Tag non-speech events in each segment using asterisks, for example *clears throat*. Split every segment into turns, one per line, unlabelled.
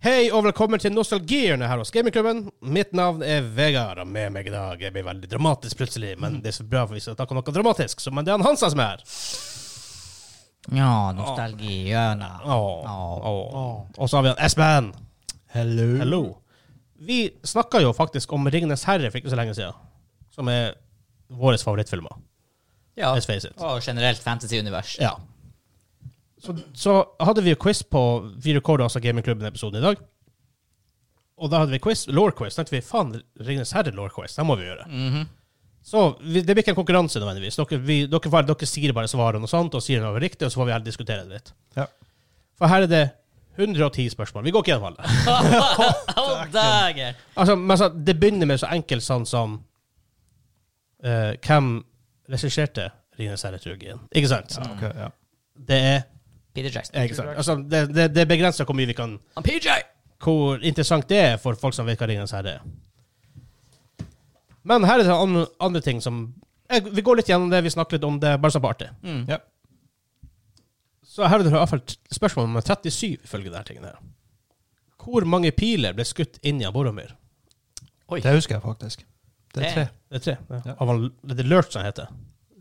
Hei og velkommen til Nostalgihjørnet her hos Gamingklubben. Mitt navn er Vegard, og med meg i dag Det blir veldig dramatisk plutselig. Men det er så bra, for vi skal snakke om noe dramatisk. Så, men det er han Hansa som er her.
Ja, nostalgi i hjørnet.
Åh,
Åh.
åh. Og så har vi han Espen.
Hello.
Hello. Vi snakka jo faktisk om Ringenes herre for ikke så lenge siden, som er våre favorittfilmer.
Ja.
Let's face it.
Og generelt
*laughs*
fantasy-univers.
Ja. Så, så hadde vi jo quiz på Vi recorda altså Gamingklubben-episoden i dag. Og da hadde vi quiz, lore quiz. tenkte vi faen, Ringenes herre-lore quiz, det må vi gjøre.
Mhm.
Så vi, det blir ikke en konkurranse nødvendigvis. Dere, vi, dere, får- dere sier bare svarene og sånt, og sier noe riktig, og så får vi heller diskutere det litt.
Ja.
For her er det 110 spørsmål. Vi går ikke gjennom alle. *laughs*
oh, dager!
Altså, men altså, det begynner med så enkelt sånn som eh, Hvem regisserte Rines herre-trugien? Ikke sant?
Ok, ja.
Det er
Peter Jackson.
ikke sant? Altså, det, det, det er begrensa hvor mye vi kan
Han PJ!
hvor interessant det er for folk som vet hva Ringenes herre er. Men her er det andre, andre ting som jeg, Vi går litt gjennom det, vi snakker litt om det, bare som på artig.
ja.
Så her er det i hvert fall t- spørsmål nummer 37, ifølge denne tingen her. Hvor mange piler ble skutt inn i Boromir?
Oi.
Det husker jeg faktisk. Det er
Det-
tre.
Det er tre.
Ja.
Ja. Av han, det er Lurtz han heter.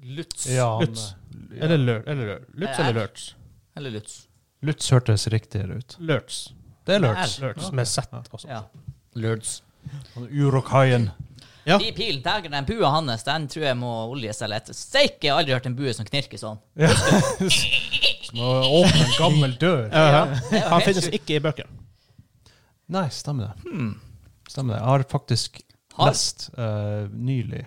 Lutz.
Lutz.
eh,
Eller Lur- eller Lur- Lutz eller Lurtz?
Eller Lutz.
Lutz hørtes riktigere ut.
Lurtz.
Det er
Lurtz.
Lurtz.
Lurtz med Z også.
Ja. Lurds.
Urokhaien.
Ja.
I pil, dagen, den bua hans, den tror jeg må oljes eller et Steike, jeg har aldri hørt en bue som knirker sånn.
Som å åpne en gammel dør.
Det er jo
Han
helt
finnes
sjukt.
ikke i bøkene.
Nei, stemmer det. Stemmer det. Jeg Hmm. har faktisk
Har-
lest eh, nylig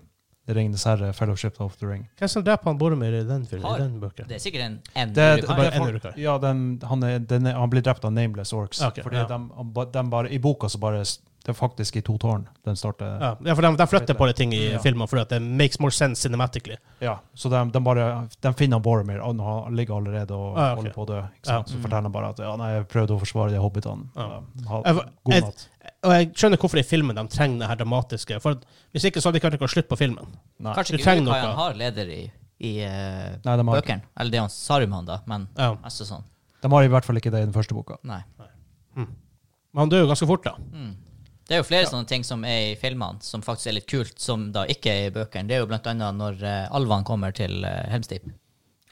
Ringenes herre, Fellowship of the Ring.
Hvem som dreper han Boromir i den filmen?
Har-
I den bøken?
Det er sikkert en, en
Det, det,
bue.
er
det
bare
er
en
folk,
urokar.
ja, den, han, er, den er, han blir drept av Nameless Orcs.
Ok,
fordi
ja.
de, han ba- de bare, I boka så bare s- Det er faktisk i to tårn den starter. Ja.
Ja, ja, for de, de flytter på litt ting i
Ja.
filmen fordi at det makes more sense cinematically.
så de, de bare De finner Boromir, og han ligger allerede og
Ah, ok.
holder på å dø. Ikke
Ja.
sant? Så forteller han bare at ja, nei, jeg prøvde å forsvare de hobbitene.
Ja.
Ja, ha-
Jeg var-
God
jeg-
natt.
Og jeg skjønner hvorfor i filmen de trenger det her dramatiske. For at- Hvis ikke så hadde de kanskje ikke hatt slutt på filmen.
Nei.
Kanskje
du
ikke
trenger
Urukaian
noe.
har leder i, i eh,
Nei, de har,
bøkene. Eller det er han Saruman, da, men
Ja.
altså sånn.
de har i hvert fall ikke det i den første boka.
Nei.
Men han dør jo ganske fort, da.
Mm. Det er jo flere sånne ting som er i filmene, som faktisk er litt kult, som da ikke er i bøkene. Det er jo blant annet når eh, alvene kommer til eh, Helmstip.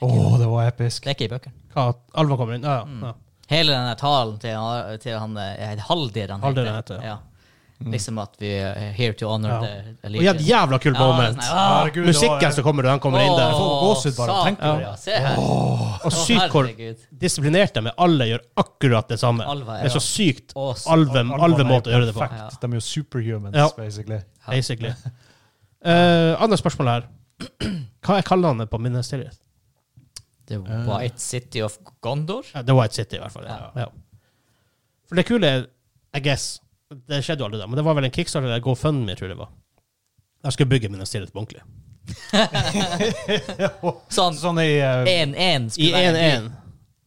Å, det var episk.
Det er ikke i bøkene.
Hva, at Alva kommer inn. Ja, ja. ja.
Mm. Hele den der talen til, til han eh, Haldir, han
Haldir han heter,
Ja. Liksom at vi er here to honor
Ja.
the
Og igjen,
allegiance.
jævla kul
Ja,
moment.
sånn her,
Herregud, det var-
Musikken som kommer når han kommer inn der.
Åh. får gåsehud bare av å
satan,
tenke på det.
ja. Se her.
Og sykt hvor
herregud.
disiplinert de er. Alle gjør akkurat det samme.
Alva,
Det er så sykt
Å, s-
alve, alvemåte å gjøre det på.
Perfekt. De er jo superhumans,
Ja.
basically.
Basically. Eh, andre spørsmål her. Hva er kallenavnet på minnestedet?
The White City of Gondor.
Ja, The White City, i hvert fall. Ja.
Ja.
Ja. For det kule er, I guess Det skjedde jo aldri, da, men det var vel en kickstarter eller GoFundMe, tror jeg det var. Jeg skulle bygge mine stillhet på ordentlig.
Sånn
Sånn i eh,
I
1-1 skulle være en by.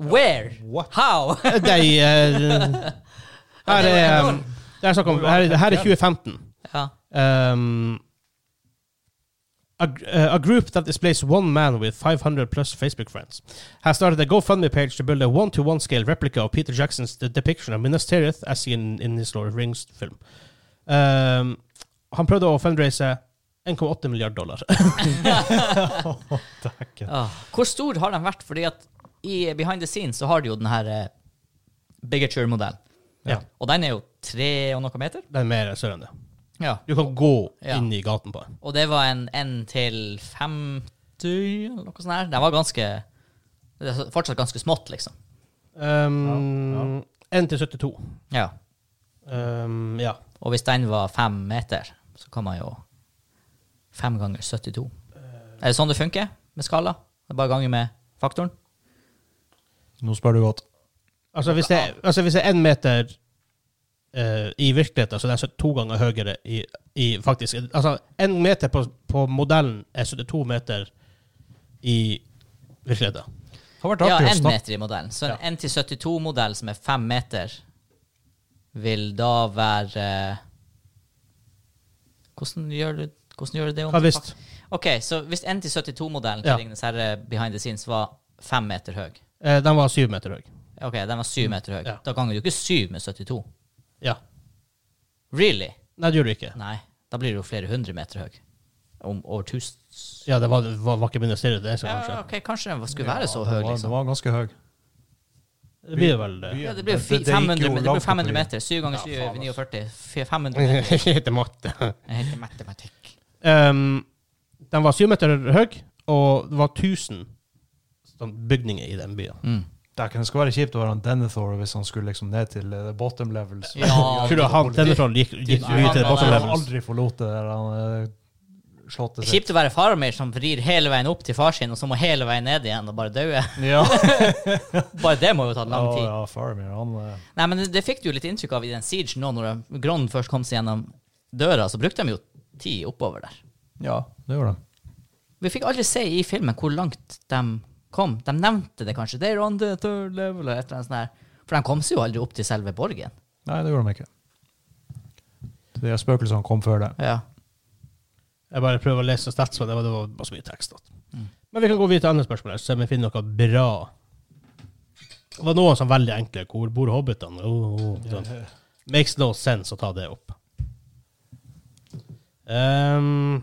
1-1.
Where?
What?
How? *laughs*
De eh, Her er um, det er snakk om, her, er- her er 2015.
ja.
Um, a, gr- uh, a group that displays one man with 500 plus Facebook friends has started a GoFundMe page to build a one-to-one scale replica of Peter Jackson's de- depiction of Minas Tirith as seen in his Lord of the Rings film. Um, han prøvde å fundraise 1,8 milliard dollar. *laughs*
Dæken.
Ah. Hvor stor har den vært? Fordi at i Behind the Scenes så har de jo den her eh, Bigature-modellen.
Ja.
Og den er jo tre og noe meter.
Det er mer større enn det.
Ja.
Du kan gå
Ja.
inn i gaten på den.
Og det var en 1 til 50 eller noe sånt her. Den var ganske det er Fortsatt ganske smått, liksom.
Um, 1 til 72.
Ja.
Um, ja.
Og hvis den var fem meter, så kan man jo Fem ganger 72. Er det sånn det funker med skala? Det er bare ganger med faktoren?
Nå spør du godt.
Altså hvis det, altså, hvis det er én meter eh, i virkeligheten, så det er det to ganger høyere i, i faktisk Altså én meter på, på modellen er 72 meter i virkeligheten.
Det har vært
Ja,
artig å
én
snakke
meter i modellen. Så
Ja.
en 1 til 72-modell som er fem meter, vil da være eh, Hvordan gjør du, hvordan gjør du det? om
Hva
til
hvis-
fak- Ok, så hvis 1 til 72-modellen til
Ja.
Ringenes herre behind the scenes var fem meter høy
Eh, den var syv meter høy.
Ok, den var syv meter høy.
Ja.
Da ganger du ikke syv med 72.
Ja.
Really?
Nei, det gjør du ikke.
Nei. Da blir du jo flere hundre meter høy. Om over tusen
Ja, det var, var, var ikke min stille, det. Så
ja,
kanskje.
ok, Kanskje den skulle være så
Ja,
høy,
den var- Den
liksom.
var ganske høy.
Det blir vel det.
Ja, det blir jo fi-
Det- det gikk jo
500, men det blir
langt
500
oppover.
meter. 7 ganger 7
Ja,
er
faen,
49. Fi- 500
*laughs*
meter.
Jeg heter matte.
Det heter matematikk.
Um, den var syv meter høy, og det var 1000 sånn bygninger i den byen.
Mm.
Det kunne skal være kjipt å være en Denethor hvis han skulle liksom ned til eh, bottom
*laughs*
levels. *laughs*
Ja.
Tror du han denne trollen gikk, gikk
Nei,
mye til det
han-
bottom
han
levels?
Aldri forlot det der han eh, slottet sitt.
Kjipt å være farmer som vrir hele veien opp til far sin, og så må hele veien ned igjen og bare daue.
Ja.
*laughs* Bare det må jo ta lang tid.
Ja, ja, Faramir, han eh,
Nei, men det fikk du jo litt inntrykk av i den siege nå, når de- Gron først kom seg gjennom døra, så brukte de jo tid oppover der.
Ja, det gjorde han.
Vi fikk aldri se i filmen hvor langt de kom. De nevnte det kanskje. They're on the third level, eller et eller annet sånt der. For de kom seg jo aldri opp til selve borgen.
Nei, det gjorde han ikke. De spøkelsene kom før det.
Ja.
Jeg bare prøver å lese stats, men det var, det var bare så mye tekst. at. Men vi kan gå videre til andre spørsmål, her, så vi finner noe bra. Det var noen sånn veldig enkle. Hvor bor hobbitene? Oh, oh, sånn. Makes no sense å ta det opp. Ehm,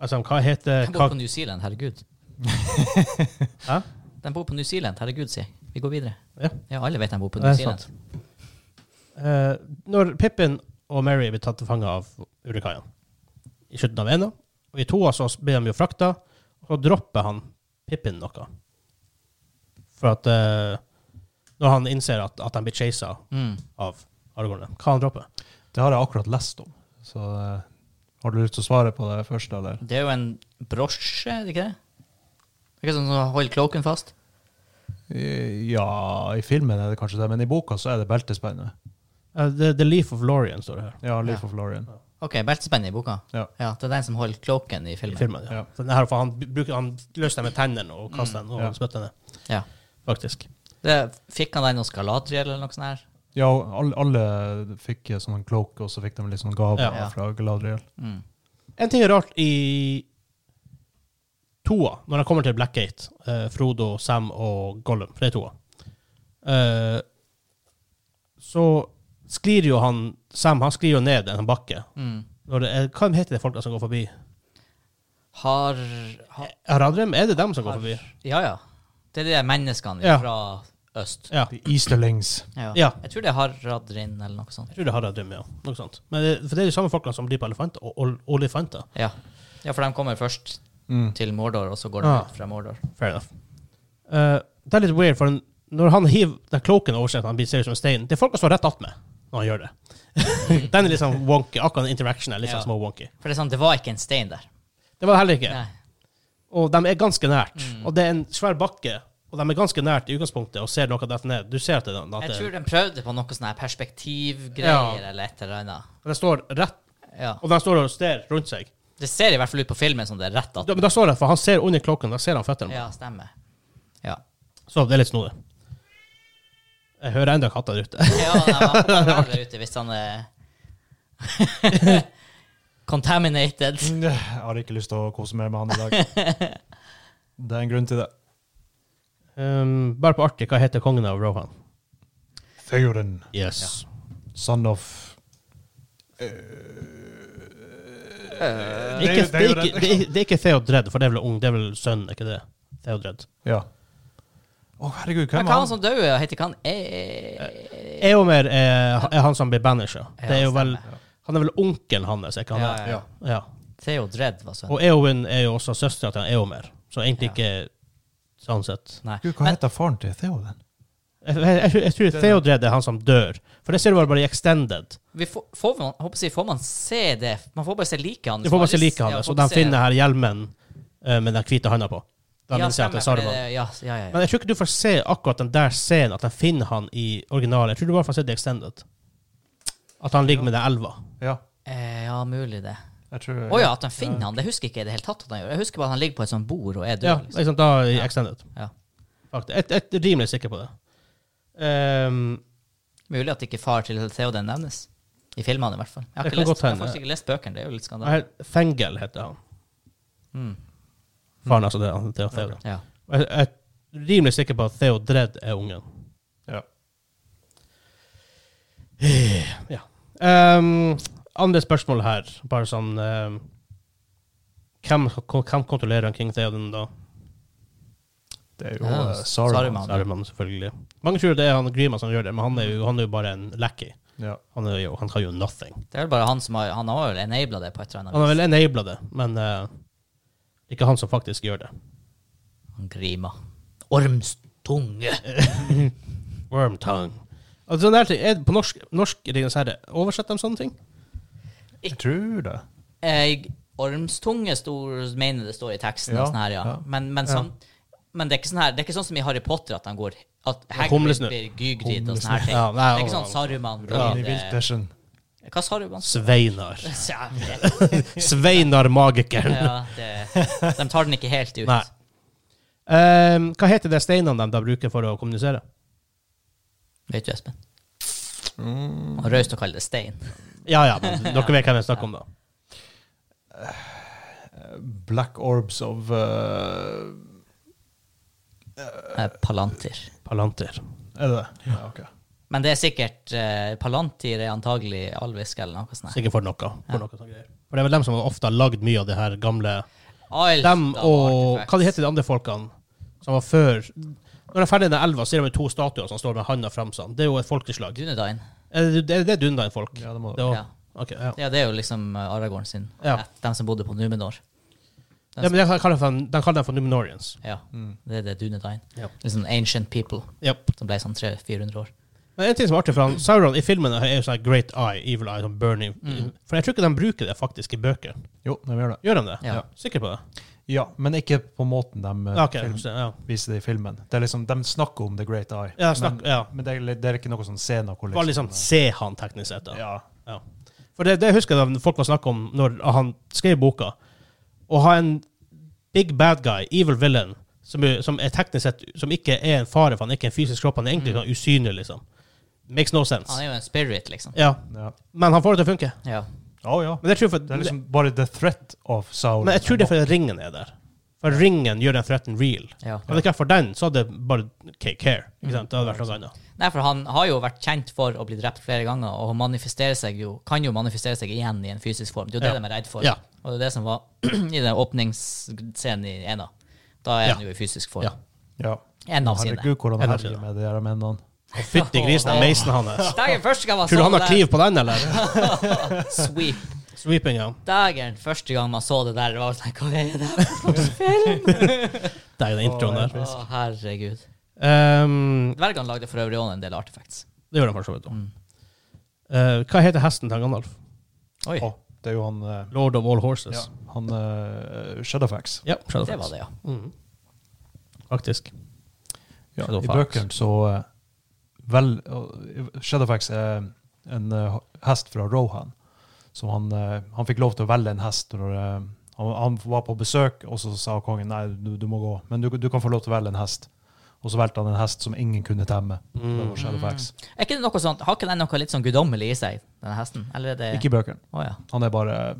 altså, hva heter
De bor
hva,
på New Zealand, herregud.
Hæ?
De bor på New Zealand, herregud, si. Vi går videre.
Ja.
Ja, alle vet de bor på
Det
New
er
Zealand.
Eh, når Pippin og Mary blir tatt til fange av Urekaien i slutten av ena, og i toa så blir de jo frakta, og så dropper han Pippin noe. For at eh, Når han innser at, at han blir chasa
Mm.
av Aragorn, hva han dropper
Det har jeg akkurat lest om. Så eh, har du lyst til å svare på det først, eller?
Det er jo en brosje, er det ikke det? Det er ikke sånn som holder kloaken fast?
Eh, Ja, i filmen er det kanskje det, men i boka så er det beltespennet.
Eh, the, the Leaf of Lorien står det her.
Ja, Leaf
Ja.
of Lorien.
OK, beltespenn i boka.
Ja.
det er den som holder kloaken i
I
filmen.
filmen, ja.
Ja.
Så den her, for han, bruker, han løser den med tennene og kaster den og
Ja.
spytter den ned,
Ja.
faktisk.
Det, fikk han den hos Galadriel eller noe sånt? her?
Ja, og alle, alle fikk eh, sånn en cloak, og så fikk de litt sånn gave
Ja.
fra Galadriel.
Mm.
En ting er rart i toa, når han kommer til Blackgate, eh, Frodo, Sam og Gollum, for det er toa, eh, så sklir jo han Sam han sklir jo ned en bakke.
Mm.
Når det er, hva heter de folka som går forbi?
Har, har
Haradrim? Er det dem som går forbi?
Ja, ja. Det er de der menneskene
Ja.
fra øst.
Ja.
The Easterlings.
Ja.
Ja.
Jeg tror det er Haradrin eller noe sånt.
Jeg tror det er Haradrim, ja. Noe sånt. Men det, for det er de samme folka som blir på elefanter, og, og, olifanter.
Ja. ja, for de kommer først
Mm.
til Mordor, og så går de
Ah.
ut fra Mordor.
Fair enough. Eh, det er litt weird, for når han hiver den kloken over seg, at han blir ser ut som en stein, det er folka som står rett attmed når han gjør det. *laughs* den er litt sånn wonky. Akkurat den interaction er litt sånn
Ja.
små wonky.
For det er sånn, det var ikke en stein der.
Det var det heller ikke.
Nei. Mm.
Og de er ganske nært. Og det er en svær bakke, og de er ganske nært i utgangspunktet og ser noe dette ned. Du ser at det, at
Jeg
det,
tror de prøvde på noe sånn her perspektivgreier eller et eller annet.
den står rett,
Ja.
og de står og ser rundt seg.
Det ser i hvert fall ut på filmen som det er rett
Da,
at
men da står det, for han ser under klokken, da ser han føttene.
Ja, stemmer.
*laughs*
Ja.
Så det er litt snodig. Jeg hører enda katter der ute. *laughs*
ja nei, man kan være der ute hvis han er *laughs* Contaminated.
Mm,
Jeg har ikke lyst til å kose mer med han i dag.
*laughs*
Det er en grunn til det.
Um, bare på artig, hva heter kongen av Rohan?
Theoden,
Yes.
son of
Det er
Det er
ikke, det
jo-
er
det er jo
ikke, det er, det er ikke Theodred, for det er vel ung, det er vel sønn, er ikke det? Theodred.
Ja. Å, herregud,
Men
hvem
hva
er
er han
sånn-
som
han?
dør? Heter ikke han e
Eomer er, er han som blir banisha.
Ja,
Det er jo vel,
stemmer.
han er vel onkelen hans, er ikke han
Ja,
det?
ja, ja.
Ja.
Theo Dredd var sønnen.
Og Eowyn er jo også søstera til han Eomer, så egentlig
Ja.
ikke sånn sett.
Nei.
Gud, hva heter faren til Theoden?
Jeg, jeg, jeg, jeg tror Theodred er han som dør, for det ser du vel bare i Extended.
Vi får, får, man, håper jeg, får man se det? Man får bare se liket hans.
Du får
Man
bare se
aldri-
liket
ja,
hans,
får
og de
se-
finner her hjelmen eh, med den hvite handa på. Da
Ja,
minnes jeg at det er
stemmer, for
Saruman.
det- Ja, ja, ja, ja.
Men jeg tror ikke du får se akkurat den der scenen, at de finner han i originalen. Jeg tror du bare får se det i Extended. At han ligger med den elva.
Ja,
Eh, ja, mulig det.
jeg tror
Å ja, at de finner han. Det husker ikke jeg i det hele tatt. at han gjør. Jeg husker bare at han ligger på et sånt bord og er død.
Ja,
liksom.
liksom da i Extended.
Ja.
Fakt. Jeg jeg er rimelig sikker på det. Ehm,
Mulig at ikke far til Theoden nevnes. I filmene, i hvert fall. Jeg har,
Det kan
ikke lest,
godt
jeg har
hende.
faktisk ikke lest bøkene. Det er jo litt skandale.
her- Fengel heter han.
Mm.
Faren, altså. Det, han, Theo Theoden.
Ja.
Og Jeg, jeg er rimelig sikker på at Theo Dredd er ungen.
ja.
Ja. Ehm, andre spørsmål her, bare sånn ehm, hvem, hvem kontrollerer King Theoden, da?
Det er jo
Ja,
eh, Saruman.
Saruman.
Så er det man selvfølgelig. Mange tror det er han Grima som gjør det, men han er jo, han er jo bare en lackey.
Ja.
Han, er jo, han kan jo nothing.
Det er vel bare han som har Han har vel enabla det på et eller annet
Han har
vis.
vel enabla det, men eh, ikke han som faktisk gjør det.
Han grimer. Ormstunge.
Wormtongue. Altså, sånne her ting, er det på norsk, norsk Ringenes herre, oversetter de sånne ting?
Jeg tror det.
Eh, Jeg, ormstunge stor, mener det står i teksten.
Ja,
og sånn her, ja.
ja.
Men, men,
Ja.
sånn, men det, er ikke sånn her, det er ikke sånn som i Harry Potter at han går at Hagrid
humlesnurr.
blir gygrid og sånne her ting.
Ja,
det
nei,
er ikke
han-
sånn Saruman
Ronny
blir, eh,
Wiltersen.
Hva sa du, Mans?
Sveinar. *laughs*
Ja, det-
Sveinar magikeren.
*laughs* ja, det- de tar den ikke helt ut.
Nei. Ehm, hva heter det steinene de da bruker for å kommunisere?
Vet du, Espen? Og Raust å kalle det stein.
Ja, ja, men dere vet hvem jeg snakker om, da.
Black Orbs of eh,
Eh, Palantir.
Palantir.
Er det det? Ja, ok.
Men det er sikkert eh, Palantir er antagelig alvisk eller noe sånt. her.
Sikkert for noe. For noe sånne greier. For det er vel dem som ofte har lagd mye av det her gamle
Alt
Dem
av
og
artifacts.
Hva de heter de andre folkene som var før Når de er ferdig i den elva, så er det to statuer som står med handa fram sånn. Det er jo et folkeslag.
Dunedain.
Er det, er det Dundain-folk?
Ja, det må
det. var-
Ja.
ok, ja.
Ja, det er jo liksom eh, Aragorn sin.
Ja.
Ja. De som bodde på Numenor.
ja, men jeg kaller dem, De kaller dem for Numenorians.
Ja, Det er det Dunedain.
Ja.
Liksom ancient people
Japp.
som ble sånn 300-400 år.
Men en ting som er artig, for han, Sauron i filmen er jo sånn Great Eye, Evil Eye, sånn Burning
Mm.
For jeg tror ikke de bruker det faktisk i bøker.
Jo, de gjør det.
Gjør de det?
Ja.
Sikker på det?
Ja, men ikke på måten de eh,
Ja, ok.
film,
så, Ja,
viser det i filmen. Det er liksom, De snakker om The Great Eye,
ja, snakk, ja.
men, men det, er, li- det er ikke noe sånn scene. hvor
Bare liksom se han teknisk sett, da.
ja.
Ja. For det, det husker jeg da folk var snakk om når han skrev boka. Å ha en big bad guy, evil villain, som, er- som er teknisk sett Som ikke er en fare, for han er ikke en fysisk kropp, han er egentlig sånn usynlig, liksom. Makes no
Mm. Han
sense.
er jo en spirit, liksom.
Ja.
Ja.
Men han får det til å funke.
Ja.
Å, ja.
Men jeg tror for,
Det er liksom bare the threat of Sauron.
men jeg tror det er fordi ringen er der. For ringen gjør den threaten real.
ja.
Hadde det ikke vært for den, så hadde det bare Take care. Ikke sant? Det hadde vært noe annet.
Nei, for han har jo vært kjent for å bli drept flere ganger, og han manifesterer seg jo, kan jo manifestere seg igjen i en fysisk form. Det er jo det
Ja.
de er redd for.
Ja.
Og det er det som var *clears throat* i den åpningsscenen i Ena. Da er
Ja.
han jo i fysisk form.
Ja.
ja.
En av sine.
Herregud, hvordan
En av
herjer
sine.
med de her mennene.
Og fytti
*laughs*
grisen, den meisen hans.
Dagen første gang man
Tror du
så
han har
det
kniv på den, eller?
der, sweep.
Sweeping, ja.
Dagen første gang man så det der, det var sånn Hva er det her for en film?
Det er den introen der.
Å, herregud.
Ehm,
Dvergene lagde for øvrig også en del artifacts.
det gjør de for så vidt. da. Eh, hva heter hesten til Gandalf?
Oi,
Å, det er jo han eh,
Lord of all horses.
ja, Han eh, Shadowfax.
Ja, Shadowfax.
det var det, ja.
Mhm. Faktisk.
Ja, I
Shadowfax.
bøkene så eh, vel, eh, Shadowfax er en eh, hest fra Rohan. Så han, eh, han fikk lov til å velge en hest. Når, eh, han, han var på besøk, og så sa kongen nei, du, du må gå, men du, du kan få lov til å velge en hest. Og så valgte han en hest som ingen kunne temme. Det
Mm.
var Shadowfax.
Er ikke det noe sånt, Har ikke den noe litt sånn guddommelig i seg, denne hesten? Eller er det
Ikke i bøkene.
Å, ja.
Han er bare eh,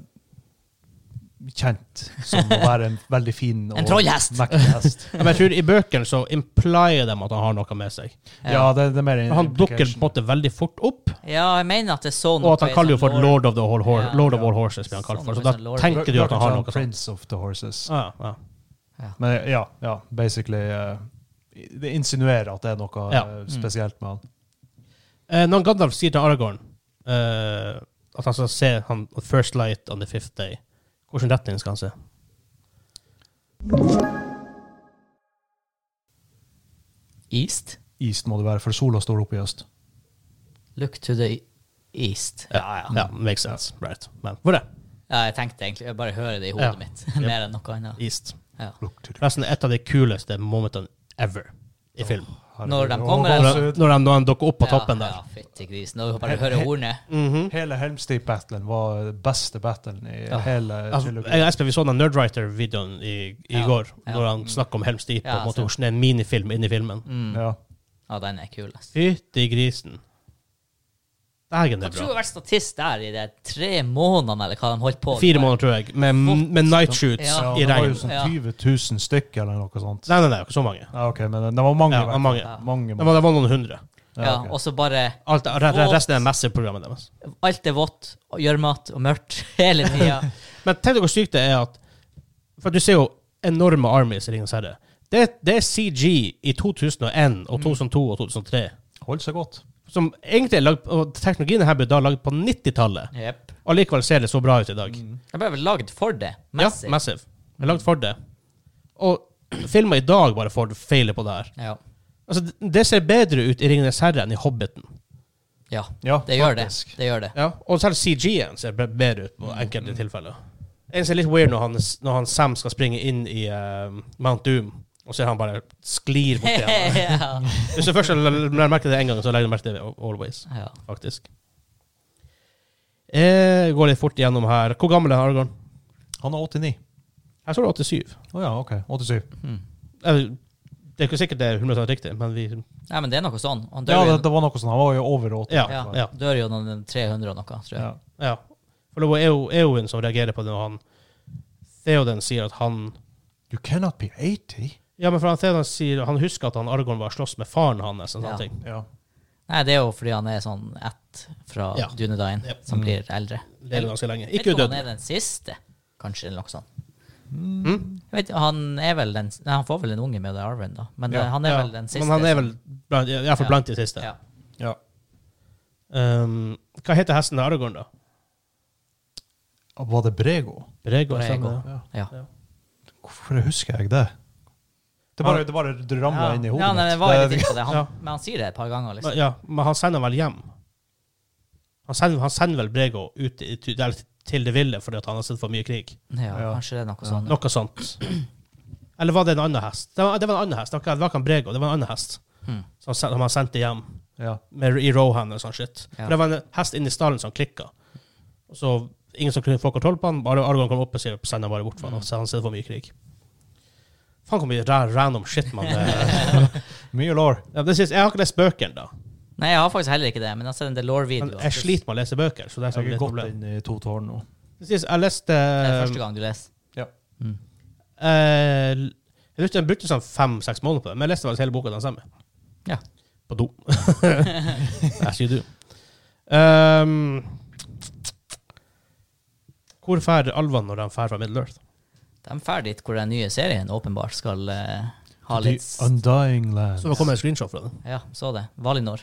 kjent som å være en veldig fin og
En trollhest!
mektig hest.
Ja, men jeg tror I bøkene så implier de at han har noe med seg.
Ja, det, det er mer
For han dukker på en
implication.
måte veldig fort opp,
Ja, jeg mener at det er sånn
og at han kaller jo for Lord of, the all, hor
Ja.
Lord of all horses. Blir han kalt for. Så da
Sånn, Lord-
tenker du at han har noe sånt.
Prince of the horses.
Ah, ja.
Men ja, ja basically eh, Det insinuerer at det er noe
Ja. Mm.
eh, spesielt med han.
Eh, når Gandalf sier til Aragorn eh, at han skal se han, First Light on the Fifth Day, hvilken retning skal han se?
East?
East må det være, for sola står oppe i øst.
Look to the east.
Ja, ja. Makes sense. Right. Men hvor er
Ja, jeg tenkte egentlig, jeg bare hører det i hodet
Ja.
mitt, *laughs* mer enn noe annet.
East?
Ja.
Forresten, et av de kuleste momentene ever i film.
Når de
Herregud.
kommer,
Å,
Når
altså-
han, når han, når han dukker opp på
Ja,
toppen der.
Ja, fytti grisen. Nå bare hører hornet.
Mhm.
Hele Helmsteep-battlen var den beste battlen i
Ja.
hele
Altså,
trilogien.
jeg og Espen, vi så den Nerdwriter-videoen i, i
Ja.
går,
Ja.
når han snakker om Helms Deep,
Ja,
på en måte
så-
hvordan det er en minifilm inni filmen.
Mm.
Ja.
Ja, den er kul. ass.
Fytti grisen. Dægen, det er
Jeg tror
bra.
jeg har vært statist der i de tre månedene, eller hva de holdt på med.
Fire måneder, tror jeg, med, med night shoots
Ja.
i
det var
regn.
jo sånn
Ja.
20 000 stykker eller noe sånt.
Nei, nei, nei, ikke så mange.
Ja, ok, men det, det var mange.
Ja,
i hvert
mange.
fall. mange,
Det var, det var noen hundre.
Ja,
ok.
Og så bare
Alt, re- re- resten er messeprogrammet deres.
Alt er vått og gjørmete og mørkt *laughs* hele tida.
Men tenk deg hvor sykt det er at For du ser jo enorme armies i Ringenes herre. Det, det er CG i 2001 og 2002 og 2003.
Holder seg godt.
Som egentlig er lagd, og Teknologien her ble da lagd på 90-tallet,
Jepp.
og likevel ser det så bra ut i dag.
Det ble vel lagd for det.
Ja,
Mm, Massive.
Massive. Det er lagd for det. Og *clears throat* filmer i dag bare får feile på det her.
Ja.
Altså, det- det ser bedre ut i Ringenes herre enn i Hobbiten.
ja.
Ja,
Det gjør det.
faktisk.
Det gjør det.
Ja, og selv CG-en ser be- bedre ut på enkelte tilfeller. En ser litt weird når han, når han Sam skal springe inn i eh, Mount Doom, og ser han bare sklir borti
*laughs*
henne.
ja.
Hvis du først la- la- la merke det én gang, så legger du merke til det always,
ja.
faktisk. Eh, går litt fort gjennom her. Hvor gammel er Argon?
Han er 89.
Her står det 87.
Å ja, OK. 87.
Mm.
Eh, Det er ikke sikkert det er 100 riktig, men vi
Nei, men det er noe sånn. Han
Ja,
dør,
det,
jo,
det var noe sånn. Han var jo over 80.
Ja.
ja,
ja.
dør jo noen 300 og noe, tror jeg.
Ja.
Ja. For det var Eo- Eowyn som reagerer på det når han Theoden sier at han
You cannot be 80.
Ja, men for han Theoden sier han husker at han Argon var og sloss med faren hans. En sånn
Ja.
ting.
Ja.
Nei, det er jo fordi han er sånn ett fra
Ja.
Dunedain,
Yep.
som blir eldre.
Lever ganske lenge.
Vet
Ikke
du om
udød.
han er den siste, kanskje, eller noe sånt.
Mm?
Jeg vet, han er vel den Nei, han får vel en unge med det Arven, da, men
Ja.
eh, han er
Ja,
vel den siste.
Men han er vel
som-
blant, i hvert fall
Ja.
blant de siste.
ja.
ja.
Um, hva heter hesten til Aragorn, da?
Var det Brego?
Brego.
Brego.
stemmer det?
Ja.
ja.
Hvorfor husker jeg det? Det bare, det bare ramla inn i hodet
ja, nei, det
mitt.
var litt
Det-
inne
*laughs*
på det. Han,
Ja.
Men han sier det et par ganger,
Men,
liksom.
ja, men han sender vel hjem? Han sender, han sender vel Brego ut i, til- der, til det ville fordi at han har sett for mye krig?
Ja,
Ja.
kanskje det er noe sånn. sånt.
Noe sånt. Eller var det en annen hest? Det var, det var en annen hest. Det var ikke- det var ikke en Brego, det var en annen hest
Hmm.
som, sen- som han sendte hjem
ja.
med, i Rohan eller sånn shit.
Ja.
For det var en hest inne i stallen som klikka. Og så ingen som kunne få kontroll på han, bare Argon kom opp og sier send han bare bort for han, så han ser for mye krig. Faen hvor mye ra- random shit man
*laughs*
eh.
Mye lår.
ja, det siste, Jeg har ikke lest bøkene, da.
Nei, jeg har faktisk heller ikke det, men jeg har sett en del
Men
Law-videoer.
jeg sliter med å lese bøker. Så det er sånn
Jeg
litt
er gått
problem.
inn i to tårn nå.
Det siste, jeg leste
Det er første gang du leser.
Ja.
Mm.
eh, Jeg brukte, jeg brukte sånn fem-seks måneder på det, men jeg leste faktisk hele boka den samme.
Ja.
På do. As you do. Um, hvor drar alvene når de drar fra Middle Earth?
De drar dit hvor den nye serien åpenbart skal eh, ha
The
litt s-
Undying Land.
Så det kommer en screenshot fra det.
Ja, så det. Valinor.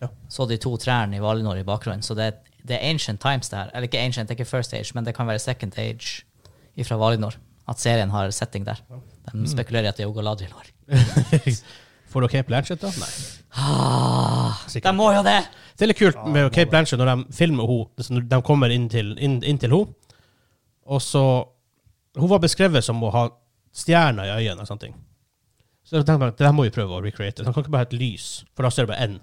Ja.
Så de to trærne i Valinor i bakgrunnen. Så det, det er ancient times, det her. Eller ikke ancient, det er ikke first age, men det kan være second age fra Valinor. At serien har setting der. De spekulerer i at det er jo Galadrielor.
*laughs* Får du Cape Blanchett, da? Nei.
Ah, de
Sikkert.
må jo det!
Det er litt kult med Cape Blanchett når de filmer henne. De kommer inn til, inn, inn til henne, og så Hun var beskrevet som å ha stjerner i øynene og sånne ting. Så jeg tenkte bare, det her må vi prøve å recreate. De kan ikke bare ha et lys, for da ser det bare én.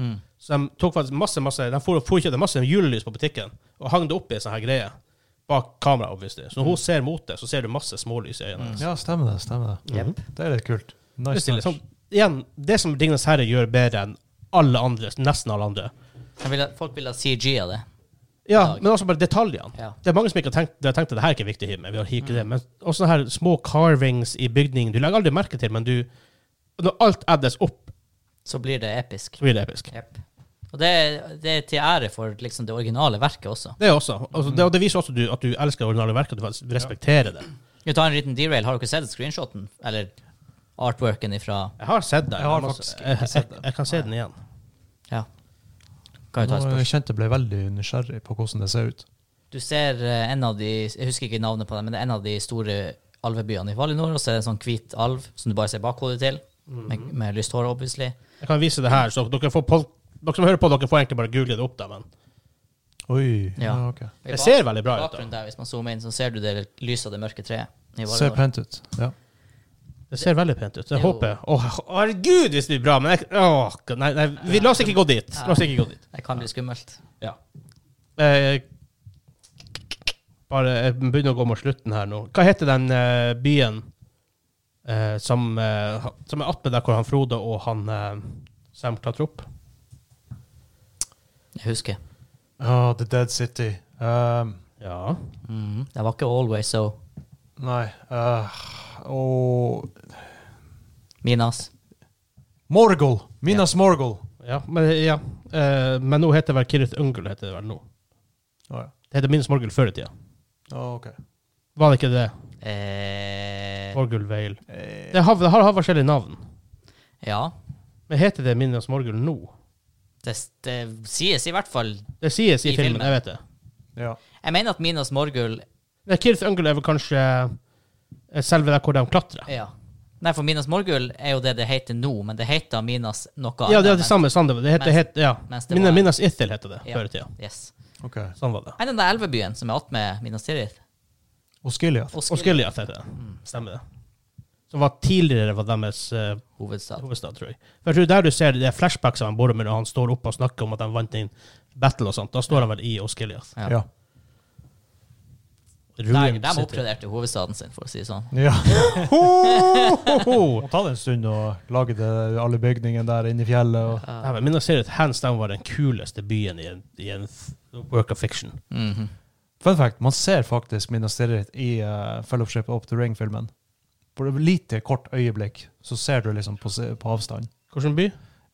Mm.
Så de tok faktisk masse, masse De for, for kjøpte masse julelys på butikken og hang det opp i en sånn her greie. Bak kamera, obviously. Så når hun ser mot det, så ser du masse smålys i øynene. hennes.
Mm. Ja, stemmer det. stemmer Det
Jep.
Det er litt kult.
Det er
Nice,
stille.
nice.
Sånn, igjen, det som Ringenes herre gjør bedre enn alle andre, nesten alle andre
De vil ha- folk vil ha CG av det.
Ja,
Dag.
men også bare detaljene.
Ja.
Det er mange som ikke har tenkt, de har tenkt at det her er ikke viktig, men vi har
Mm.
ikke det. Men også sånne her små carvings i bygningen. Du legger aldri merke til, men du Når alt addes opp,
Så blir det episk.
så blir det episk.
Jep. Og det, er- det er til ære for liksom, det originale verket også.
Det er også.
Mm.
Altså, det, og det viser også du, at du elsker originale verk, at du faktisk respekterer det.
Vi tar en liten derail. Har dere sett screenshoten? Eller artworken ifra
Jeg har sett det.
Jeg har
må-
faktisk ikke
jeg, jeg,
sett det.
jeg, kan se den igjen.
Ja. Kan jo ta et
Nå,
spørsmål.
jeg kjente jeg ble veldig nysgjerrig på hvordan det ser ut.
Du ser eh, en av de Jeg husker ikke navnet på dem, men det er en av de store alvebyene i Valinor. Og så er det en sånn hvit alv som du bare ser bakhodet til, med,
Mhm.
med lyst hår, obviously.
Jeg kan vise det her, så dere får pol- Dere som hører på, dere får egentlig bare google det opp, da, men
Oi.
Ja.
Ja. ok.
Det ser veldig bra ut. da.
Bakgrunnen der, Hvis man zoomer inn, så ser du det lyset av det mørke treet. i
Ser
Valinor.
pent ut. Ja.
Det ser veldig pent ut. Jeg
Jo.
håper Åh, herregud, hvis det blir bra, men jeg, åh, nei, nei, vi, la oss ikke gå dit. La oss ikke gå dit.
Det kan bli skummelt.
Eh, bare jeg begynner å gå mot slutten her nå. Hva heter den eh, byen eh, som, eh, ha- som er attmed der hvor han Frode og han eh, Sam klatrer opp?
Jeg husker.
Ah, The Dead City. Um,
Ja.
Mhm. Det var ikke always so.
nei uh, Og
Minas.
Morgul! Minas Morgul.
Ja, men, ja. Eh, men nå heter det vel Kirith Ungul, heter det vel nå.
Å, ja.
Det heter Minus Morgul før i tida.
Å, ok.
Var det ikke det?
Eh,
Morgul Vale.
Eh,
Det har, det har, har forskjellige navn.
ja.
Men heter det Minus Morgul nå?
Det, det sies i hvert fall
Det sies i,
I
filmen,
filmen.
jeg vet det.
ja.
Jeg mener at Minos Morgul
Nei, Kirith Ungul er vel kanskje eh, selve der hvor de klatrer.
Ja. Nei, for Minos Morgul er jo det det heter nå, men det heter Minas noe
Ja, det er
men-
det samme. Sande. Det heter,
Mens-
het, ja.
mens det
Mina,
var-
Minas Ithil heter det
Ja.
før i tida.
Yes.
Ok.
Sånn var det.
Nei, den der elvebyen som er attmed Minas Tirith.
Og Skiliath.
Oskar-
Og Skiljath heter det. Stemmer det. Som var tidligere var deres eh,
Hovedstad.
hovedstad, tror jeg. For jeg tror der du ser det er flashbacks av han Boromir når han står oppe og snakker om at han vant en battle og sånt. Da står han vel i Oskiljath.
Ja.
Ja.
Der, de oppgraderte hovedstaden sin, for å si det sånn. *laughs*
ja.
Ho!
Må ta det en stund og lage det, alle bygningene der inne i fjellet. Og,
Ja, men Minas Tirith hands down var den kuleste byen i en, i en f- work of fiction.
Mhm.
Fun fact, man ser faktisk Minas Tirith i eh, Fellowship of the Ring-filmen. På et lite, kort øyeblikk så ser du liksom på, se- på avstand.
Hvilken by?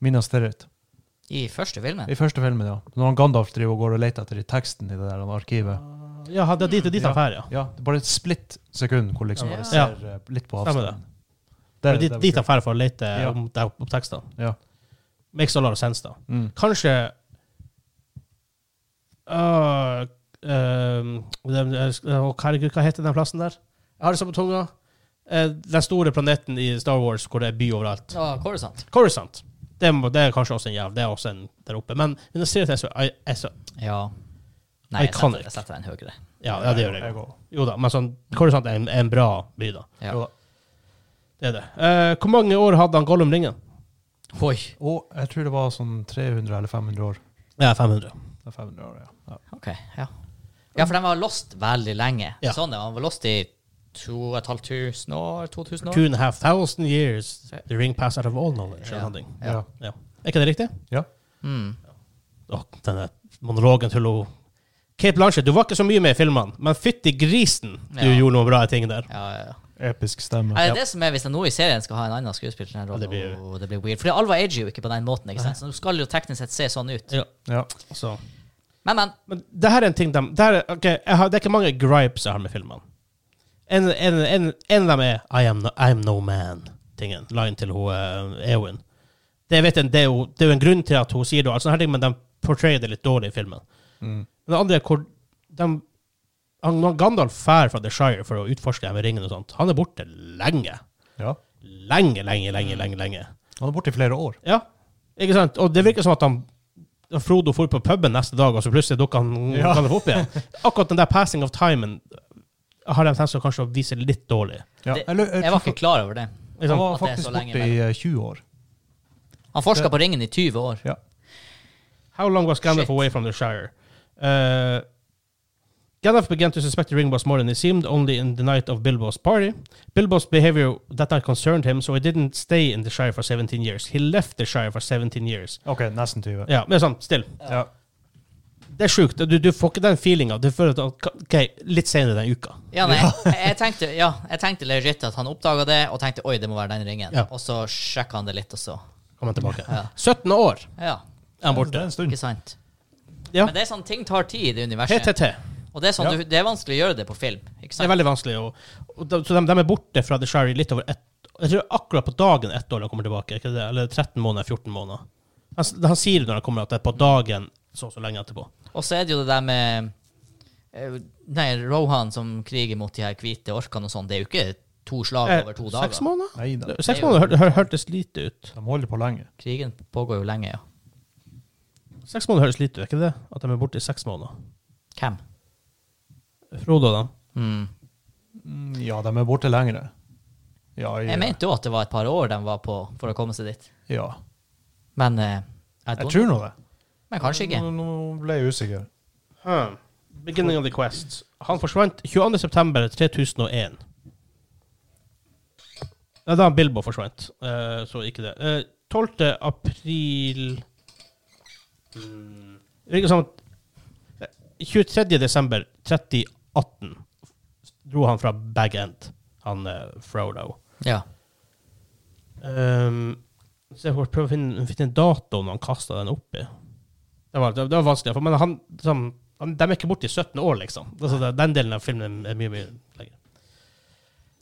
Minas Tirith.
I første filmen.
I første filmen, ja. Når han Gandalf driver og går og leter etter i teksten i det der arkivet.
Ah.
Ja, ha- det er dit og dit han drar, ja.
Ja, det er bare et splitt sekund hvor liksom
Ja.
bare ser eh, litt på
Stemmer det.
avstand.
Det er dit, dit han drar for å lete
Ja.
om, der- om tekstene.
Ja.
Makes a lot of sense, da.
Mm.
Kanskje Øh, ehm, den- eh, å, Herregud, hva heter den plassen der? Jeg har det samme tunga. Eh, den store planeten i Star Wars hvor det er by overalt.
Ja, Coruscant.
Coruscant. Det, må, det er kanskje også en jæv. Det er også en der oppe. Men Minas Tirith er så, er, er så
Ja. Nei, jeg
Iconic.
setter, jeg setter den høyere.
ja, ja, det gjør det.
Jeg går.
Jo da, men sånn, Coruscant er en, er en bra by, da.
Ja.
Jo da.
Det er det. Eh, hvor mange år hadde han Gollum ringen?
Oi.
Og jeg tror det var sånn 300 eller 500 år.
Ja, 500.
Det er 500 år, ja. ja.
Ok, ja. Ja, for den var lost veldig lenge.
Ja.
Sånn, den var lost i 2500 år, 2000 år.
Two and a half thousand years the ring passed out of all knowledge.
Ja.
eller noe sånt.
Ja.
Ja.
Ja. Er ikke det riktig?
ja.
Mm.
Åh, denne monologen til hun Kate Blanchett, du var ikke så mye med i filmene, men fytti grisen, du
Ja.
gjorde noen bra ting der.
Ja, ja, ja.
Episk stemme.
Er det det som er hvis jeg nå i serien skal ha en annen skuespiller til den
Ja, det
rollen?
blir-
Åh, det blir weird. Fordi Alva ager jo ikke på den måten, ikke sant? Så du skal jo teknisk sett se sånn ut.
Ja.
Ja.
Så.
Men, men.
Men det her er en ting de det, her, er- ok, jeg har, det er ikke mange gripes jeg har med filmene. En, en, en, en av dem er I am no, I am no man-tingen. Line til hun, eh, Eowyn. Det, vet jeg, det, er jo, det er jo en grunn til at hun sier det, og alt sånne her ting, men de portrayer det litt dårlig i filmen.
Mm.
Men det andre er hvor de, han, når Gandalf drar fra The Shire for å utforske de ringene og sånt, han er borte lenge.
ja.
Lenge, lenge, lenge, lenge. lenge.
Han er borte i flere år.
Ja, ikke sant? Og det virker som at han at Frodo for på puben neste dag, og så plutselig dukka han *laughs*
Ja.
Gandalf opp igjen. Akkurat den der passing of timen har de tenkt seg kanskje å vise litt dårlig.
Ja.
Det-
Eller, eh,
Jeg var ikke klar over det.
Ikke
Han
sant?
var
at det er så
faktisk
lenge
borte i eh, 20 år.
Han forska på ringen i 20 år.
Ja.
How long was Gandalf
Shit.
away from the Shire? Uh, Gandalf began to suspect the ring was more than he seemed, only in the night of Bilbo's party. Bilbo's behavior that night concerned him, so he didn't stay in the Shire for 17 years. He left the Shire for 17 years.
Ok, nesten 20.
Ja, men sånn, still.
Ja.
Det er sjukt. Du, du får ikke den feelinga. Du føler at OK, litt senere den uka.
Ja, nei, jeg, jeg tenkte ja, jeg tenkte legit at han oppdaga det, og tenkte oi, det må være den ringen.
Ja.
Og så sjekka han det litt, og så
Kommer tilbake.
Ja.
17 år
Ja,
er han
Det er
borte.
en stund.
ikke sant?
Ja.
Men det er sånn, ting tar tid i det universet.
TTT.
Og det er, sånn,
Ja.
du, det er vanskelig å gjøre det på film. Ikke
Det er
sant?
veldig vanskelig. å- og de, så de, de er borte fra The Shire i litt over ett Jeg tror akkurat på dagen ett år de kommer tilbake. er Ikke det? Eller 13 måneder, 14 måneder. Han, s- han sier når han kommer, at det er på dagen så og så lenge etterpå.
Og så er det jo det der med eh, Nei, Rohan som kriger mot de her hvite orkene og sånn, det er jo ikke to slag
Eh,
over to
Seks
dager.
måneder?
Nei da.
Seks måneder hør, hør, hørtes lite ut.
De holder på lenge.
Krigen pågår jo lenge, ja.
Seks måneder høres lite ut, er ikke det? At de er borte i seks måneder.
Hvem?
Frode og dem.
Mm.
Mm, Ja, de er borte lengre. Ja, i,
Jeg mente jo at det var et par år de var på for å komme seg dit,
ja.
men eh, I
Jeg
don't-
tror nå det.
Men kanskje ikke.
Nå, nå ble jeg usikker.
Hmm. Beginning of the Quest. Han forsvant 22.9.3001. Det er da Bilbo forsvant, eh, så ikke det. Eh, 12. april mm. Det virker som at 23. desember 3018 dro han fra Bag End, han eh, Frodo.
Ja.
Ehm, Så jeg får prøve å finne, finne en dato når han kasta den oppi. Det var, det, det var vanskelig. for- Men han, sånn, han, de er ikke borte i 17 år, liksom. Altså, det- den delen av filmen er mye, mye lenger.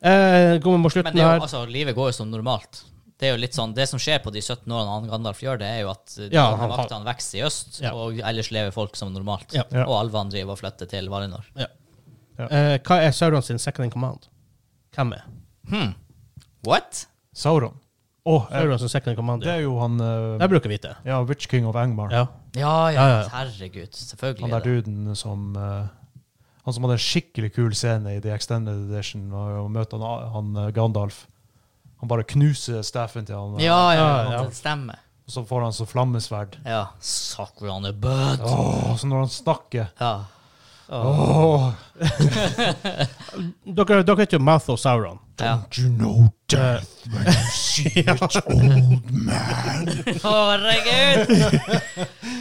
Eh, går vi mot
Men
slutten
det er
her.
jo, altså, livet går jo som normalt. Det er jo litt sånn, det som skjer på de 17 årene han Gandalf gjør, det er jo at eh,
Ja, han-
vaktene vokser i øst,
Ja.
og ellers lever folk som normalt.
Ja.
Ja.
Og alvene driver og flytter til Valinor.
Ja.
Ja.
Eh, hva er Sauron sin second in command? Hvem er
Hmm. What?
Sauron. Åh, eh,
Sauron sin second in command?
det
Ja.
er jo han eh,
Jeg bruker å vite.
Ja, Witch King of Angmar.
Ja.
Ja, ja,
Ja, ja, ja.
herregud. Selvfølgelig.
Han
er
der
det.
duden som eh, Han som hadde en skikkelig kul scene i The Extended Edition, var jo å møte han, han eh, Gandalf. Han bare knuser staffen til han, eh,
Ja, ja,
Ja,
ja,
ja.
det stemmer.
og så får han så flammesverd.
Ja. Sucker on the butt.
Åh, så når han snakker
Ja.
Åh,
Dere, dere vet jo Mouth of
*laughs*
Sauron. *laughs*
ja.
you know
Eh,
Herregud!
*laughs*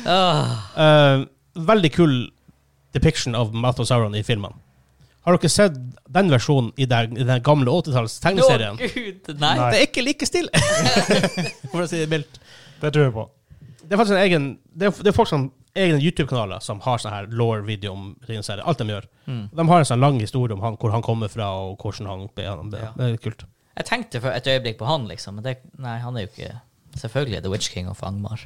Ah. Åh.
eh, veldig kul depiction av Mouth of Sauron i filmen. Har dere sett den versjonen i den, i den gamle 80-talls
Å,
tegneserien?
gud! Nei.
Nei.
Det er ikke like stille, *laughs* for å si det mildt.
Det tror jeg på.
Det er faktisk en egen Det er, det er folk som egne YouTube-kanaler som har sånn her law-video om tegneserier. Alt de gjør.
Mm.
De har en sånn lang historie om han, hvor han kommer fra, og hvordan han ble han ble-
Ja.
Det er litt kult.
Jeg tenkte for et øyeblikk på han, liksom, men det, nei, han er jo ikke Selvfølgelig The Witch King of Angmar.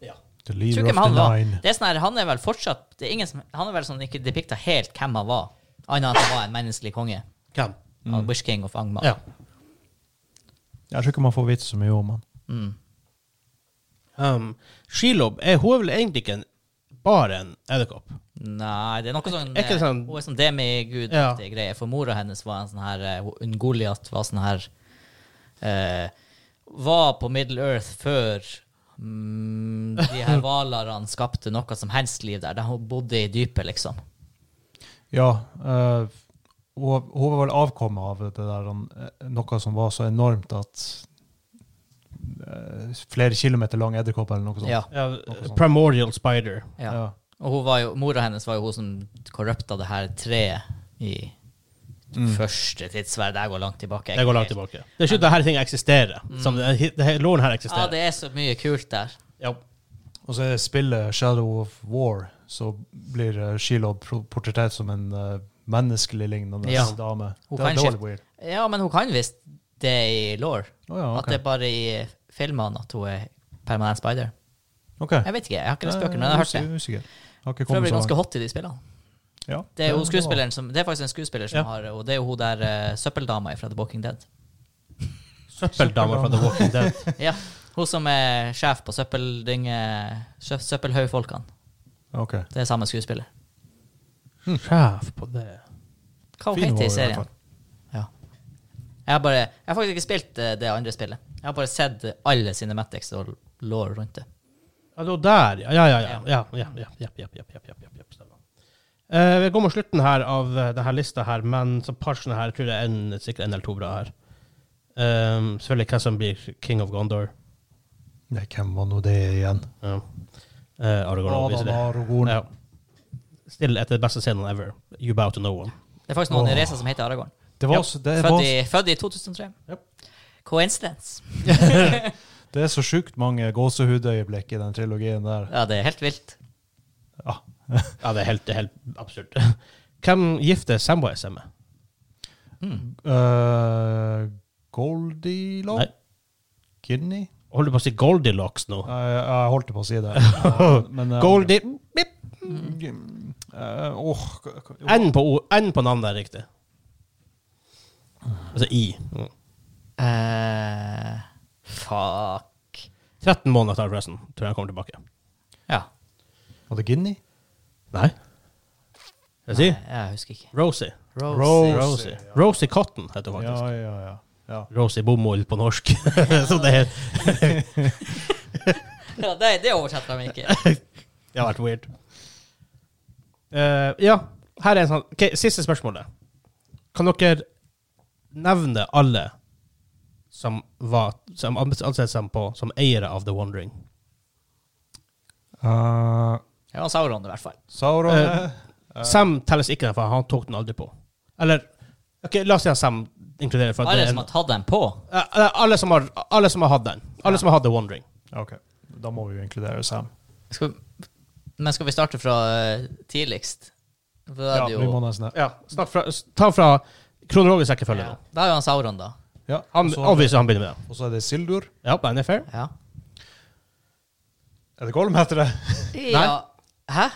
The
Tror
leader
ikke
of
hvem han
the
var.
nine.
Det er sånn her, han er vel fortsatt det er ingen som, Han er vel sånn ikke depikta helt hvem han var, annet enn at han var en menneskelig konge.
Hvem?
Mm.
Han Witch King of Angmar.
Ja.
Jeg tror ikke man får vite så mye om han.
Mm.
Um, Shelob er hun er vel egentlig ikke en, bare en edderkopp.
Nei, det er noe sånn,
Er ikke
eh,
sånn-
Hun er sånn demigud-aktig
Ja.
greie. For mora hennes var en sånn her eh, hun- Hun Goliat var sånn her eh, Var på Middle Earth før mm, de
*laughs*
her hvalerne skapte noe som helst liv der. Der hun bodde i dypet, liksom.
Ja, eh, hun, hun var vel avkommet av det der, han, eh, noe som var så enormt at eh, flere kilometer lang edderkopp eller noe sånt.
Ja.
Ja,
sånt.
primordial spider.
ja.
Ja.
Og hun var jo, mora hennes var jo hun som korrupta det her treet i første tidsverd. Det her går langt tilbake.
Det går langt tilbake. Det er ikke det her ting eksisterer. Som det, det her, loven her
Ja,
eksisterer.
det er så mye kult der.
Ja.
Og så er det spillet Shadow of War, så blir uh, Shelob pro- portrettert som en eh, menneskelig lignende
Ja.
dame.
Hun
det
kan
er dårlig
skifte.
weird.
Ja, men hun kan visst det i law.
Å ja,
At det er bare i filmene at hun er permanent spider.
ok. Ok.
Jeg vet ikke, jeg har ikke lest bøkene, men jeg har hørt det.
Us- Usikker. Jeg har ikke
For øvrig
kommet så
ganske
langt.
hot i de spillene.
sånn. Ja,
Det er jo
var-
skuespilleren som, det er faktisk en skuespiller som
Ja.
har Og det er jo hun der eh, søppeldama fra The Walking Dead.
Søppeldama fra The Walking Dead.
Ja, Hun som er sjef på søppeldynge... sø- Søppelhaugfolkene.
Ok. Hm.
Det er samme skuespiller.
Sjef på det.
Hva hun
Fin
heter i
hun var i hvert
serien?
fall.
Ja. Jeg har bare Jeg har faktisk ikke spilt eh, det andre spillet. Jeg har bare sett alle cinematics og law rundt det.
Ja, det var der, ja. Ja, ja, ja. ja, ja, ja, ja, ja, ja, ja, ja, ja, ja stemmer. Eh, vi går mot slutten her av eh, denne lista her, men så parsen her tror jeg er en, sikkert en eller to bra her. Ehm, selvfølgelig hvem som blir King of Gondor.
Nei, hvem var nå det igjen?
Ja. Eh, Aragorn, obviously.
Adam Aragorn.
Ja. Still etter beste scenen ever. You bow to no one.
Det er faktisk noen i
Åh.
Reza som heter Aragorn.
Det, var,
Ja,
så- det,
Født
var,
i, født i 2003.
Yep.
Coincidence.
det er så sjukt mange gåsehudøyeblikk i den trilogien der.
Ja, det er helt vilt.
Ja.
Ja, det er helt, det er helt absurd. *laughs* Hvem gifter Samwise seg med?
Eh, Goldilocks?
Nei,
Kidney?
holder du på å si Goldilocks nå?
Nei, Jeg, jeg holdt på å si det. Eh,
*laughs*
Men, eh,
Goldie... Bip.
Eh, åh, k- k- jo.
N på, o, N på navnet er riktig. Altså I. Mm.
Eh, fuck.
13 måneder tar det forresten, tror jeg han kommer tilbake.
Ja.
Var det Guinea?
Nei? Skal jeg si?
Nei, jeg husker
*laughs*
ikke.
Rosie.
Rosie.
Rosie.
Rosie.
ja.
Rosie Cotton heter hun faktisk.
Ja, ja, ja. ja.
Rosie Bomull på norsk. *laughs* Så det er
Ja, det, det oversetter de ikke.
Det har vært weird. Eh, ja, her er en sånn Ok, Siste spørsmålet. Kan dere nevne alle som var Som anses som, på, som eiere av The Wandering?
Eh,
Det var Sauron, i hvert fall.
Sauron eh.
Eh, Sam telles ikke, for han tok den aldri på. Eller Ok, La oss si at Sam inkluderer. For at
Alle
det er
som
en-
har tatt den på.
Eh, eh, alle, som har, alle som har hatt den. Alle som har hatt The Wandering.
OK. Da må vi jo inkludere Sam.
Skal, men skal vi starte fra eh, tidligst? For da
Ja,
er det
vi må
jo
nesten det.
Ja, snakk fra, s- ta fra kronologisk rekkefølge
ja.
nå.
Da er jo han Sauron, da.
Ja,
Han,
og så-
obviously han begynner med det.
Og så er det Sildur.
Ja, men det er fair.
Ja.
Er det Gollum heter det?
ja. Hæ?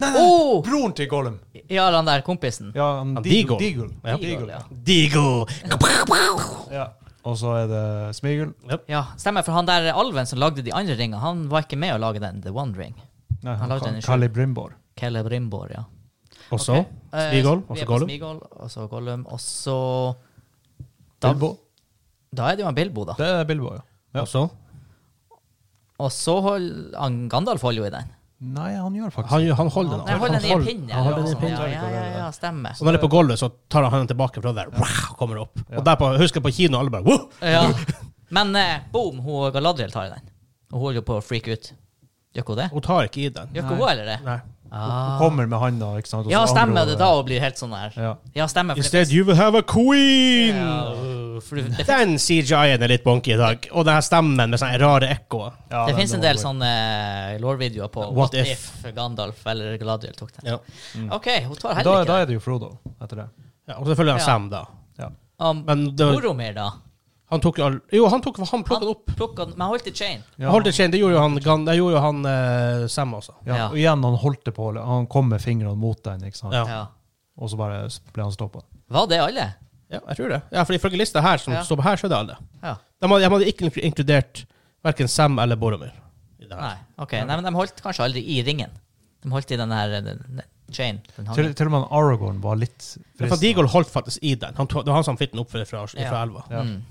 Nei,
*laughs*
nei,
Oh!
broren til Gollum.
Ja, han der kompisen.
Ja, han
Han
Deagle.
Deagle.
Deagle.
Ja.
Deagle,
Ja.
ja.
Deagle!
ja. Og så er det Smigel.
Ja, stemmer. For han der alven som lagde de andre ringene, han var ikke med å lage den The One Ring.
Nei,
Han
han,
lagde
Ka-
den i
Kali Brimbor.
Celebrimbor, ja.
Og så
Eh,
Smigol,
vi
og
er
så
på
Gollum.
Smigol, og så Gollum, og så Da-
Bilbo.
Da er det jo han Bilbo, da.
Det er Bilbo, ja. ja.
Og så
Og så holder han Gandalf holder jo i den.
Nei, han gjør faktisk
Han, han holder den.
Nei, holder den i en pinne.
Han holder den i en
eller noe
pinne.
sånt. Ja, ja, ja, ja, stemmer.
Så når det er på gulvet, så tar han den tilbake fra der. Wow, kommer opp. Og der på, husker jeg på kino, alle bare wow!
Ja. Men eh, boom, hun Galadriel tar i den. Og hun holder jo på å freake ut. Gjør ikke hun det?
Hun tar ikke i den.
Gjør ikke hun eller det?
Nei.
Hun
Ah.
kommer med handa, ikke sant? og så
Ja,
angrer
stemmer
hun
det da og blir helt sånn her.
Ja.
Ja, stemmer. For det,
Instead you will have a queen!
Ja, uh, for det, det,
Den CGI-en er litt bonky i dag. Og den her stemmen med sånne rare ekkoer.
Ja,
det
den
finnes en
var
del
god.
sånne lore-videoer på
What
What if Gandalf eller Galadriel tok
Ja.
den. OK, hun tar
da,
heller
da
ikke den.
er det jo Frodo etter det.
Ja, og selvfølgelig
Ja.
han Sam, da.
Ja.
Um,
Men det, var-
Boromir, da?
han tok jo all Jo, han, tok, han plukka
Han
den opp.
plukka den, men han holdt i chain.
Ja.
Hold it chain, det gjorde jo han, Gan- det gjorde jo han eh, Sam også.
Ja.
Ja.
Og igjen, han holdt det på, han kom med fingrene mot den, ikke sant?
Ja.
Ja.
og så bare ble han stoppa.
Var det alle?
Ja, jeg tror det. Ja, for ifølge lista her, som
Ja.
står på her, så er det alle.
Ja.
De hadde, de hadde ikke inklu- inkludert verken Sam eller Boromir. i det her.
Nei. ok. Nei, men de holdt kanskje aldri i ringen. De holdt i den her eh, den, den, chain. Den hang-
Til, til og med han Aragorn var litt
Ja, For
fristende.
Deagle holdt faktisk i den. Han tog, det var han som fikk den opp fra, fra, fra
Ja.
elva.
Ja.
Mm,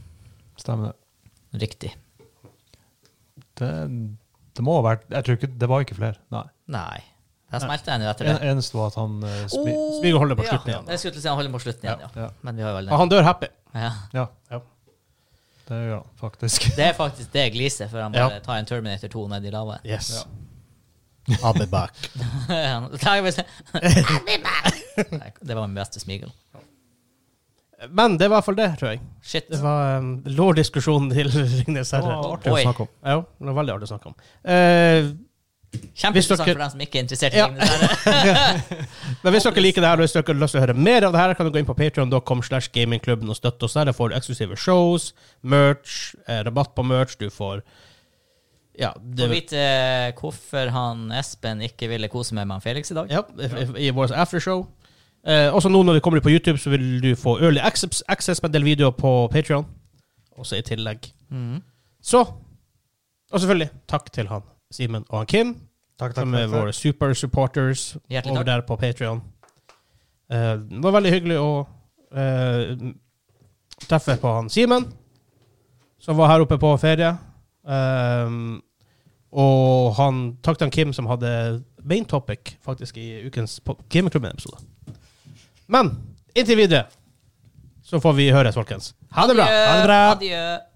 Stemmer det.
riktig.
det. Det må ha vært Jeg tror ikke Det var ikke flere. Nei.
Nei. Jeg smelte den jo etter
En,
det.
eneste var at han eh, spi...
Oh,
Spiegel holder på
ja.
slutten igjen, da.
Jeg skulle til å si han holder på slutten igjen, ja.
Ja.
Men vi har jo
Og
veldig
han dør happy.
ja.
Ja,
Ja.
det gjør han faktisk. *laughs*
Det er faktisk det gliset før han
Ja.
bare tar en Terminator 2 ned i *laughs* lavaen.
Yes. I'll be back.
Nei, jeg vil si- Nei, *laughs* det var min beste smigel.
*laughs* Men det var i hvert fall det, tror jeg.
Shit.
Det var um, lår-diskusjonen til *laughs* Ringnes
Det
Herre.
var artig å
Oi.
snakke om.
Ja, jo, det var veldig artig å snakke om. Eh,
Kjempeinteressant
dere-
for dem som ikke er interessert i
Ja. *laughs*
Ringenes herre.
men hvis dere liker det her, og hvis dere har lyst til å høre mer av det her, kan du gå inn på patreon.com slash gamingklubben og støtte oss der. Der får du eksklusive shows, merch, eh, rabatt på merch, du får Ja,
Få
det,
vite eh, hvorfor han Espen ikke ville kose meg med han Felix i dag.
Ja, i- i vår aftershow. Eh, også nå når det kommer ut på YouTube, så vil du få early access, access med en del videoer på Patreon. Også i tillegg.
Mhm.
Så Og selvfølgelig takk til han Simen og han Kim,
Takk, takk,
som er
takk,
våre
takk.
supersupporters
Hjertelig
over
takk.
der på Patreon. Eh, det var veldig hyggelig å eh, treffe på han Simen, som var her oppe på ferie. Ehm, og han takk til han Kim, som hadde main topic faktisk i ukens po- Gamingklubben-episode. Men inntil videre så får vi høres, folkens. Ha det bra! Ha det bra.
Adjø.